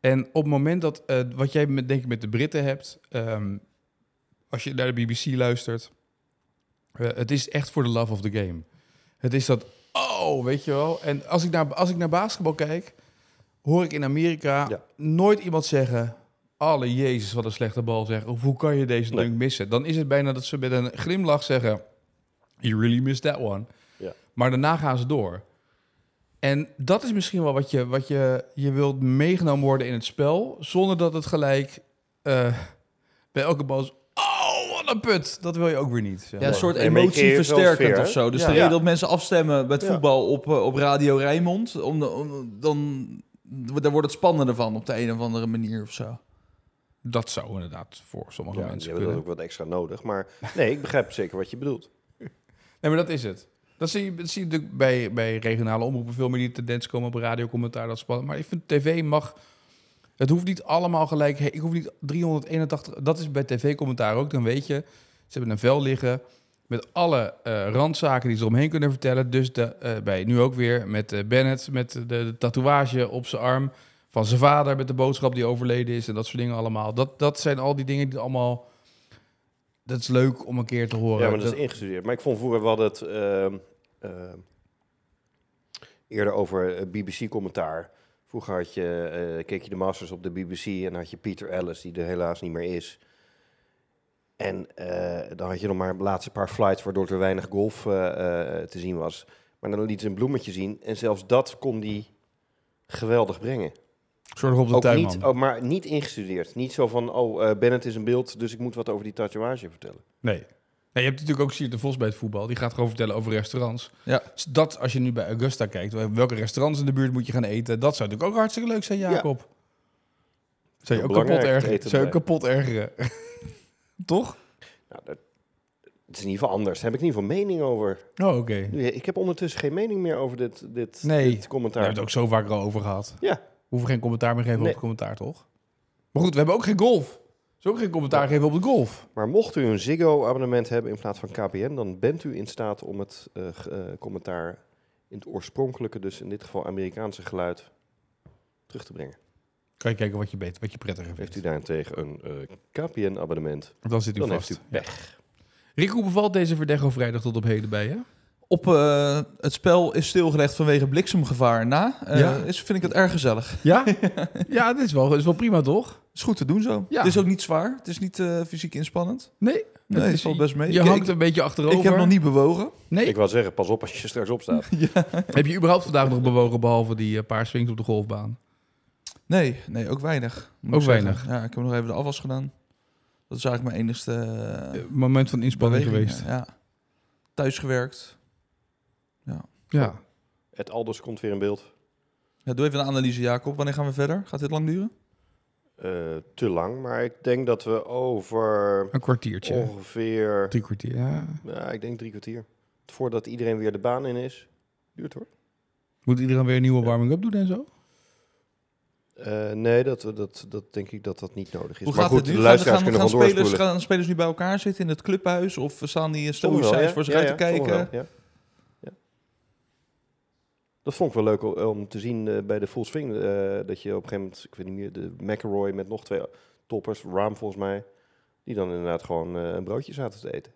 En op het moment dat, eh, wat jij met, denk ik met de Britten hebt, ehm, als je naar de BBC luistert, eh, het is echt voor de love of the game. Het is dat, oh, weet je wel. En als ik naar, als ik naar basketbal kijk, hoor ik in Amerika Ja. nooit iemand zeggen, alle jezus, wat een slechte bal zeggen. Of hoe kan je deze Nee. dunk missen? Dan is het bijna dat ze met een glimlach zeggen, you really missed that one. Ja. Maar daarna gaan ze door. En dat is misschien wel wat je, wat je, je wilt meegenomen worden in het spel, zonder dat het gelijk eh, bij elke bal is, oh, wat mannenput. Dat wil je ook weer niet. zeg Ja, maar. een soort Nee, maar je creëert wel emotieversterkend sfeer, of zo. Dus hè? de Ja. reden dat mensen afstemmen met Ja. voetbal op, eh, op Radio Rijnmond, om, de- om- dan daar wordt het spannender van op de een of andere manier of zo. Dat zou inderdaad voor sommige Ja, die mensen hebben kunnen. dat ook wat extra nodig. Maar nee, ik begrijp zeker wat je bedoelt. Nee, maar dat is het. Dat zie je, dat zie je natuurlijk bij, bij regionale omroepen veel meer die tendens komen op radiocommentaar. Dat is spannend. Maar ik vind tv mag... Het hoeft niet allemaal gelijk. Ik hoef niet 381... Dat is bij tv-commentaar ook. Dan weet je, ze hebben een vel liggen met alle eh, randzaken die ze eromheen kunnen vertellen. Dus de, eh, bij nu ook weer met eh, Bennett, met de, de tatoeage op zijn arm van zijn vader, met de boodschap die overleden is en dat soort dingen allemaal. Dat, dat zijn al die dingen die allemaal... Dat is leuk om een keer te horen. Ja, maar dat Dat- is ingestudeerd. Maar ik vond vroeger, we hadden het ehm, ehm, eerder over eh, BBC-commentaar. Vroeger had je, eh, keek je de Masters op de BBC en had je Peter Ellis, die er helaas niet meer is. En eh, dan had je nog maar de laatste paar flights waardoor er weinig golf eh, eh, te zien was. Maar dan liet ze een bloemetje zien en zelfs dat kon die geweldig brengen. Zorg op de Ook tuinman. niet, oh, maar niet ingestudeerd. Niet zo van, oh, eh, Bennett is een beeld, dus ik moet wat over die tatoeage vertellen. Nee. Nee, je hebt natuurlijk ook Siert de Vos bij het voetbal. Die gaat gewoon vertellen over restaurants. Ja. Dus dat, als je nu bij Augusta kijkt, welke restaurants in de buurt moet je gaan eten? Dat zou natuurlijk ook hartstikke leuk zijn, Jacob. Zou je Heel ook kapot, belangrijk, het ergeren, eten zou je erbij. kapot ergeren. Toch? Nou, dat, het is in ieder geval anders. Daar heb ik in ieder geval mening over. Oh, oké. Nu, Ik heb ondertussen geen mening meer over dit, dit, Nee, dit Daar commentaar. hebben we het ook zo vaak al over gehad. Ja. We hoeven geen commentaar meer te geven Nee. op het commentaar, toch? Maar goed, we hebben ook geen golf. Dus ook geen commentaar geven op de golf. Maar mocht u een Ziggo-abonnement hebben in plaats van KPN, dan bent u in staat om het eh, g- eh, commentaar in het oorspronkelijke, dus in dit geval Amerikaanse geluid, terug te brengen. Kan je kijken wat je beter, wat je prettiger Heeft vindt. u daarentegen een eh, KPN-abonnement, Want Dan zit u dan vast. heeft u pech. Rick, hoe bevalt deze Verdecho vrijdag tot op heden bij je? Op eh, het spel is stilgelegd vanwege bliksemgevaar na. eh, Ja. is, vind ik het erg gezellig. Ja? ja, dit is wel, dit is wel prima, toch? is goed te doen zo. Ja. Het is ook niet zwaar. Het is niet eh, fysiek inspannend. Nee, Nee, het het valt best mee. Je Ik- hangt ik- een beetje achterover. Ik heb nog niet bewogen. Nee, Ik wil zeggen, pas op als je straks opstaat. heb je überhaupt vandaag nog bewogen behalve die eh, paar swings op de golfbaan? Nee, nee, ook weinig. moet Ook ik zeggen. weinig. Ja, ik heb nog even de afwas gedaan. Dat is eigenlijk mijn enigste eh, moment van inspanning beweging, geweest. Ja. Ja. Thuis gewerkt. Ja. Het Alders komt weer in beeld. Ja, doe even een analyse, Jacob. Wanneer gaan we verder? Gaat dit lang duren? Eh, te lang, maar ik denk dat we over een kwartiertje. Oh. ongeveer Drie kwartier, ja. Ja, ik denk drie kwartier. Voordat iedereen weer de baan in is. Duurt hoor. Moet iedereen weer een nieuwe warming-up doen en zo? Eh, nee, dat, dat, dat denk ik dat dat niet nodig is. Hoe maar gaat goed, het nu? de Gaan, luisteraars gaan, kunnen gaan, gewoon spelers, doorspoelen. gaan spelers nu bij elkaar zitten in het clubhuis? Of staan die Sommigen wel, stoïcijns voor zich uit te sommigen kijken? wel, ja. Ja. Dat vond ik wel leuk o- om te zien eh, bij de full swing. eh, dat je op een gegeven moment, ik weet niet meer, de McElroy met nog twee toppers, Raam volgens mij, die dan inderdaad gewoon eh, een broodje zaten te eten.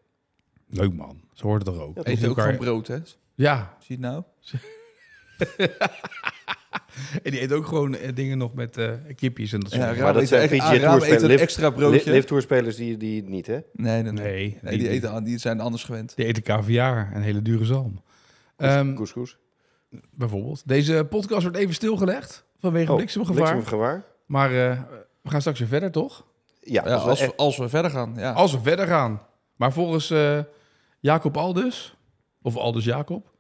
Leuk man, ze hoort het er ook. Ja, Eet Eet ook elkaar- gewoon brood, hè? Ja, Zie je het nou? en die eet ook gewoon eh, dingen nog met eh, kipjes en dat soort Ja, dingen. raar. dat eet zijn echt- PGA ah, Raam Tour eet spelers. een Lift- extra broodje. Live tourspelers die, die niet, hè? Nee, nee, nee. Nee, Nee, die, eten, aan- die zijn anders gewend. die eten caviar en hele dure zalm. Ehm, Couscous. bijvoorbeeld. Deze podcast wordt even stilgelegd vanwege Oh, bliksemgevaar. bliksemgevaar. Maar eh, we gaan straks weer verder, toch? Ja, Ja, dat is wel als, echt- we, als we verder gaan, ja. Als we verder gaan. Maar volgens eh, Jacob Aldus, of Aldus Jacob,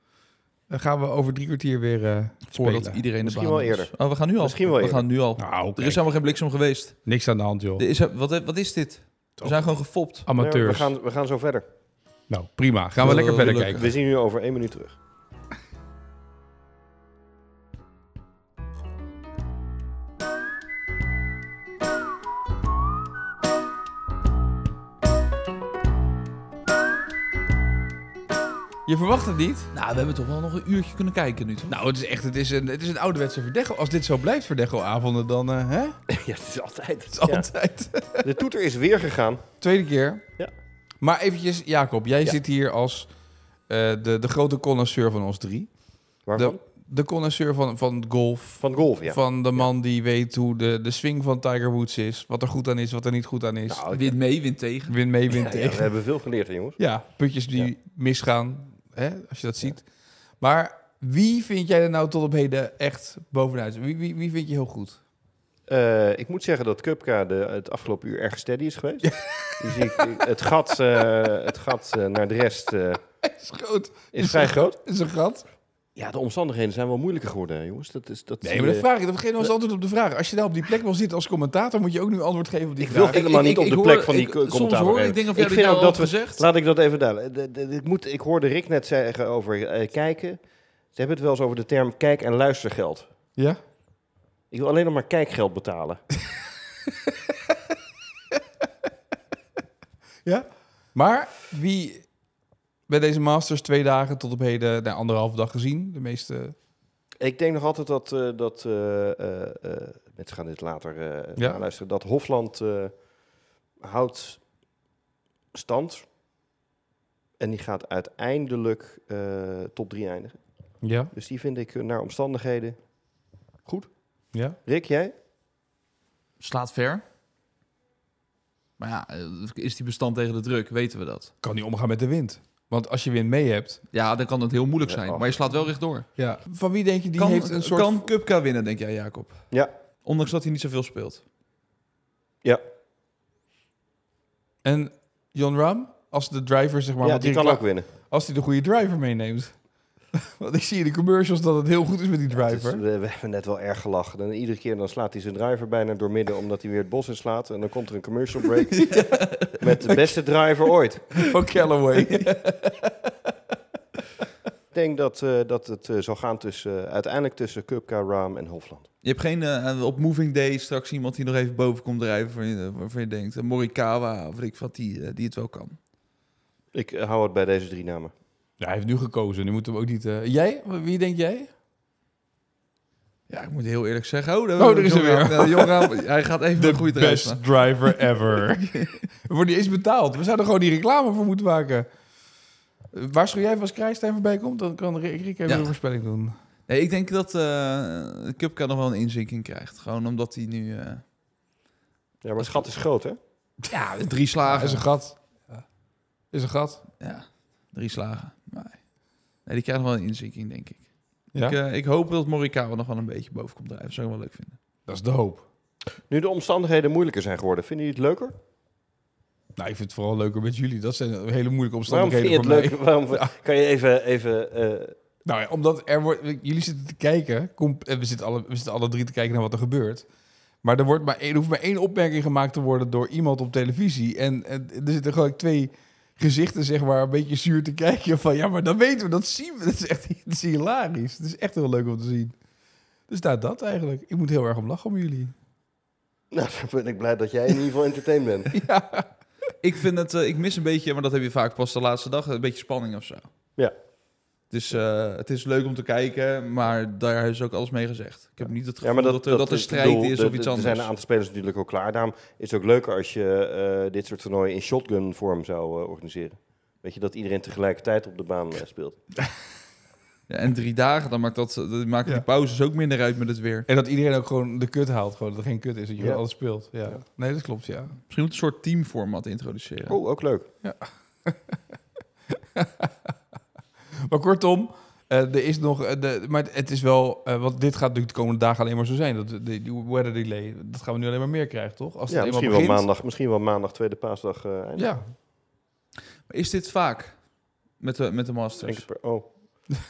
eh, gaan we over drie kwartier weer eh Voordat spelen. iedereen Misschien de baan wel is. eerder. Oh, we gaan nu al. Misschien wel we eerder. gaan nu al. Nou, Er is helemaal geen bliksem geweest. niks aan de hand, joh. Er is, wat, wat is dit? We zijn gewoon gefopt. Nee, Amateurs. we, gaan, we gaan zo verder. Nou, prima. Gaan we Wil- lekker verder wil- kijken. We zien u over één minuut terug. Je verwacht het niet? Nou, we hebben toch wel nog een uurtje kunnen kijken nu, toch? Nou, het is echt het is een, het is een ouderwetse Verdecho. Als dit zo blijft, Verdecho-avonden, dan... eh, hè? Het Ja, het is altijd. is altijd... De toeter is weer gegaan. Tweede keer. Ja. Maar eventjes, Jacob. Jij Ja. zit hier als eh, de, de grote connoisseur van ons drie. Waarvan? De, de connoisseur van, van golf, Van golf, ja. Van de man die weet hoe de, de swing van Tiger Woods is. Wat er goed aan is, wat er niet goed aan is. Nou, Wint mee, wint tegen. win mee, win ja, ja, tegen. we Ja, hebben veel geleerd, hè, jongens. putjes die Ja. misgaan. Hè, als je dat ziet. Maar wie vind jij er nou tot op heden echt bovenuit? Wie, wie, wie vind je heel goed? Eh, ik moet zeggen dat Cupka de, het afgelopen uur erg steady is geweest. dus ik, ik- het gat, eh, het gat eh, naar de rest eh, Is groot. is vrij groot. Is een gat. Ja, de omstandigheden zijn wel moeilijker geworden, jongens. Dat is, dat Nee, maar dat vraag ik. Dat geeft ons antwoord op de vraag. Als je nou op die plek wil zitten als commentator, moet je ook nu antwoord geven op die Ik wil vraag. helemaal Ik- niet ik- op ik de hoor- plek van die ik- co- commentator. Soms hoor geven. ik dingen van Ik jou die vind ook jou al dat we- gezegd. Laat ik dat even duiden. Eh, De- de- de- Ik, moet, ik hoorde Rick net zeggen over eh, kijken. Ze hebben het wel eens over de term kijk- en luistergeld. Ja? Ik wil alleen nog maar kijkgeld betalen. Ja. Maar wie bij deze Masters twee dagen tot op heden, nou, anderhalve dag gezien, de meeste... Ik denk nog altijd dat, eh, dat eh, eh, eh, mensen gaan dit later eh Ja. luisteren, dat Hofland eh, houdt stand. En die gaat uiteindelijk eh, top 3 eindigen. Ja. Dus die vind ik eh, naar omstandigheden goed. Ja. Rick, jij? Slaat ver. Maar ja, eh, is die bestand tegen de druk? Weten we dat? Kan niet omgaan met de wind. Want als je wind mee hebt... Ja, dan kan het heel moeilijk Ja, zijn. ach. Maar je slaat wel rechtdoor. Ja. Van wie denk je die kan, heeft een soort... kan Cupka winnen, denk jij, Jacob? Ja. Ondanks dat hij niet zoveel speelt. En John Ram, als de driver zeg maar... ja, want die hier kan ook kla- winnen. Als hij de goede driver meeneemt. Want ik zie in de commercials dat het heel goed is met die Het is- eh, driver. we, we hebben net wel erg gelachen. En iedere keer dan slaat hij zijn driver bijna doormidden omdat hij weer het bos in slaat. En dan komt er een commercial break met de beste driver ooit. Van Callaway. Ik denk dat, eh, dat het eh, zal gaan tussen, eh, uiteindelijk tussen Kupka, Raam en Hofland. Je hebt geen eh, op Moving Day straks iemand die nog even boven komt drijven waarvan je, waarvan je denkt, eh, Morikawa of weet ik wat, die, eh, die het wel kan. Ik eh, hou het bij deze drie namen. Ja, hij heeft nu gekozen. Nu moeten we ook niet... eh, Jij? Wie denk jij? Ja, ik moet heel eerlijk zeggen. Oh, daar, Oh, er is Jon er weer. Raam. Nou, Jon Raam, hij gaat even een goede drijven. best driver ever. we worden niet eens betaald. We zouden gewoon die reclame voor moeten maken. Eh, Waarschuw jij even als Krijstijn voorbij komt, dan kan Rick Rick even Ja. een voorspelling doen. Nee, ik denk dat eh Cupka nog wel een inzinking krijgt. Gewoon omdat hij nu eh, Ja, maar het gat is groot, hè? ja, drie Ah, is slagen... een gat. Is een gat. Ja, drie slagen. Nee, nee die krijgt nog wel een inzinking, denk ik. Ja? Ik, eh, ik hoop dat Morikawa nog wel een beetje boven komt drijven. Zou ik wel leuk vinden. Dat is de hoop. Nu de omstandigheden moeilijker zijn geworden, vinden jullie het leuker? Nou, ik vind het vooral leuker met jullie. Dat zijn hele moeilijke Waarom vind omstandigheden je het voor mij. leuker? Waarom, Kan je even... even eh, Nou ja, omdat er wordt... Jullie zitten te kijken. Kom, en we, zitten alle, we zitten alle drie te kijken naar wat er gebeurt. Maar er, wordt maar één, er hoeft maar één opmerking gemaakt te worden door iemand op televisie. En, en er zitten gewoon twee gezichten, zeg maar, een beetje zuur te kijken. Van ja, maar dat weten we, dat zien we. Dat is echt dat is hilarisch. Het is echt heel leuk om te zien. Dus daar dat eigenlijk. Ik moet heel erg om lachen om jullie. nou, dan ben ik blij dat jij in ieder geval entertained bent. Ik vind het, eh, ik mis een beetje, maar dat heb je vaak pas de laatste dag, een beetje spanning of zo. Ja. Dus eh, het is leuk om te kijken, maar daar is ook alles mee gezegd. Ik heb niet het Ja, gevoel maar dat, dat, er, dat, er is- strijd bedoel, is de- of de- iets Er anders. zijn een aantal spelers natuurlijk ook klaar. Daarom is het ook leuker als je eh, dit soort toernooien in shotgun-vorm zou eh, organiseren. Weet je, dat iedereen tegelijkertijd op de baan eh, speelt. Ja, en drie dagen, dan maakt dat, dan maken Ja. die pauzes ook minder uit met het weer. En dat iedereen ook gewoon de kut haalt. Gewoon dat er geen kut is, dat je Ja. alles speelt. Ja. Ja. Nee, dat klopt, ja. Misschien moet een soort teamformat introduceren. Oh, ook leuk. Maar kortom, eh, er is nog. eh, de, maar het is wel. eh, want dit gaat natuurlijk de komende dagen alleen maar zo zijn. Dat, die, die weather delay, dat gaan we nu alleen maar meer krijgen, toch? Als Ja, het eenmaal misschien wel, begint. maandag, misschien wel maandag, tweede paasdag. eh eindigen. Ja, Maar Is dit vaak met de, met de Eén Masters? keer per- oh.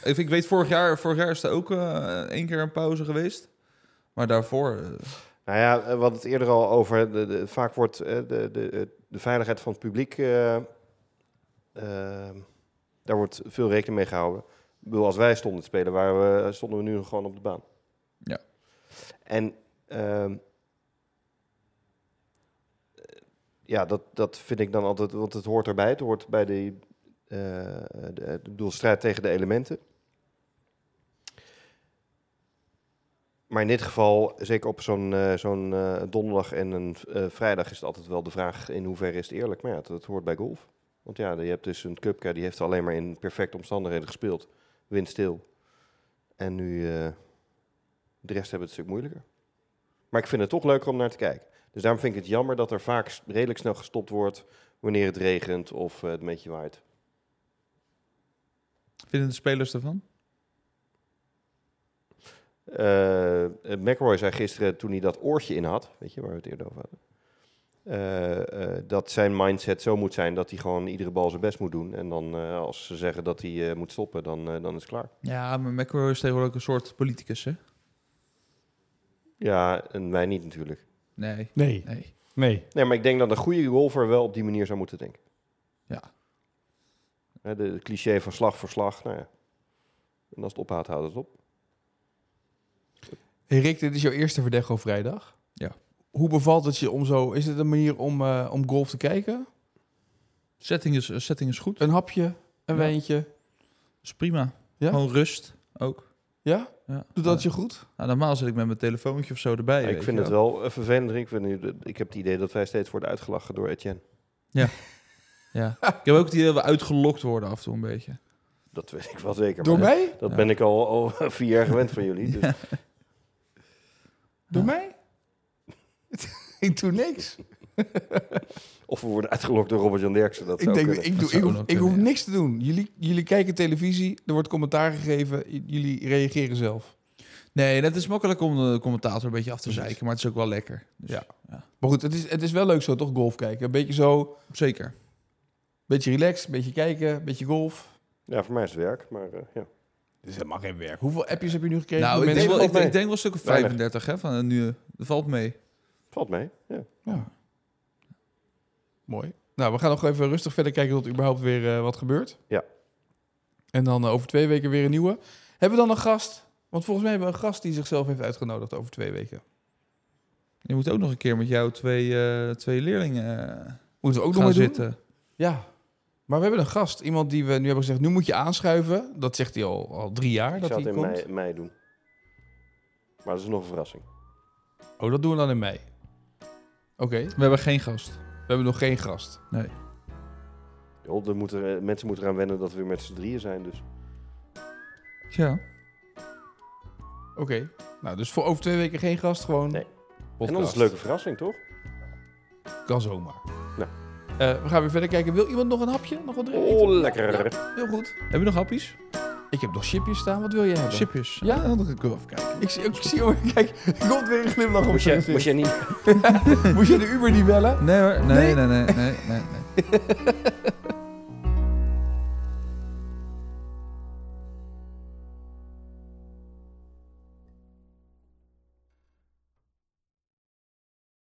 Ik, ik weet, vorig jaar, vorig jaar is er ook eh, één keer een pauze geweest. Maar daarvoor... eh, Nou ja, eh, we hadden het eerder al over. De, de- vaak wordt eh, de, de, de veiligheid van het publiek. eh, ehm, daar wordt veel rekening mee gehouden. Ik bedoel, als wij stonden te spelen, waren we, eh, stonden we nu gewoon op de baan. Ja. En ehm, eh, ja, dat, dat vind ik dan altijd. Want het hoort erbij. Het hoort bij de, eh de, ik bedoel, strijd tegen de elementen. Maar in dit geval, zeker op zo'n eh, zo'n eh, donderdag en een eh, vrijdag, is het altijd wel de vraag in hoeverre is het eerlijk. Maar ja, dat, dat hoort bij golf. Want ja, je hebt dus een Cupka, die heeft alleen maar in perfecte omstandigheden gespeeld. Windstil. En nu, eh, de rest hebben het een stuk moeilijker. Maar ik vind het toch leuker om naar te kijken. Dus daarom vind ik het jammer dat er vaak s- redelijk snel gestopt wordt wanneer het regent of eh, het een beetje waait. vinden de spelers ervan? Eh, eh, McElroy zei gisteren, toen hij dat oortje in had, weet je waar we het eerder over hadden, eh, eh, dat zijn mindset zo moet zijn dat hij gewoon iedere bal zijn best moet doen. En dan eh, als ze zeggen dat hij eh, moet stoppen, dan, eh, dan is het klaar. Ja, maar McElroy is tegenwoordig ook een soort politicus, hè? Ja, en wij niet natuurlijk. Nee, Nee, nee. nee. Nee, maar ik denk dat een goede golfer wel op die manier zou moeten denken. Ja. Hè, de, de cliché van slag voor slag, nou ja. En als het ophoudt, houdt het op. Hey Rick, dit is jouw eerste Verdecho vrijdag. Ja. Hoe bevalt het je om zo... Is het een manier om, eh, om golf te kijken? Setting is, eh, setting is goed. Een hapje, een Ja. wijntje? is prima. Ja? Gewoon rust ook. Ja? Ja. Doet dat je goed? Nou, normaal zit ik met mijn telefoontje of zo erbij. ik weet vind je het wel eh, vervelend. Rick. Ik, vind nu, ik heb het idee dat wij steeds worden uitgelachen door Etienne. Ja. ik heb ook het idee dat we uitgelokt worden af en toe een beetje. Dat weet ik wel zeker. Door maar mij? Dat Ja. ben ik al, al vier jaar gewend van jullie. Dus Door mij? ik doe niks. Of we worden uitgelokt door Robert-Jan Derksen. Dat Ik, zou denk, kunnen. ik, doe, Dat ik, zou hoef, ook ik hoef kunnen, ja. niks te doen. Jullie, jullie kijken televisie, er wordt commentaar gegeven, j- jullie reageren zelf. Nee, dat is makkelijk om de commentator een beetje af te zeiken, maar het is ook wel lekker. Dus, Ja. Maar goed, het is, het is wel leuk zo toch, golf kijken. Een beetje zo, een Zeker. beetje relaxed, een beetje kijken, een beetje golf. Ja, voor mij is het werk. Maar eh, ja. Dit is helemaal geen werk. Hoeveel appjes heb je nu gekregen? Nou, van ik denk, mensen? wel, ik, valt mee. denk, ik denk wel een stuk of Weinig. 35, hè, van eh, nu. eh, Dat valt mee. valt mee. Ja. Ja. Mooi. Nou, we gaan nog even rustig verder kijken tot er überhaupt weer eh, wat gebeurt. Ja. En dan eh, over twee weken weer een nieuwe. Hebben we dan een gast? Want volgens mij hebben we een gast die zichzelf heeft uitgenodigd over twee weken. Je moet ook nog een keer met jou twee, eh, twee leerlingen eh, Moeten we ook nog gaan maar doen? zitten. Ja. Maar we hebben een gast. Iemand die we nu hebben gezegd, nu moet je aanschuiven. Dat zegt hij al, al drie jaar Ik dat zou hij het in komt. mei, mei doen. Maar dat is nog een verrassing. Oh, dat doen we dan in mei. Oké, We hebben geen gast. we hebben nog geen gast. Joh, er moeten, eh, mensen moeten eraan wennen dat we weer met z'n drieën zijn. Dus. Ja. Oké. Nou, dus voor over twee weken geen gast, gewoon Nee. En dan is podcast. het een leuke verrassing, toch? Kan zomaar. Nou. Eh, we gaan weer verder kijken. Wil iemand nog een hapje? Nog wat drinken? Oh, lekker. Heel goed. Heb je nog happies? Ik heb nog chipjes staan. Wat wil jij hebben? Chipjes. Ja. Ja, dan kunnen we even kijken. Ik zie, ik zie oh, kijk, er komt weer een glimlach op Moest zijn jij, gezicht. moest jij niet... Moest je de Uber niet bellen? Nee hoor, nee, Nee? nee, nee, nee, nee. nee,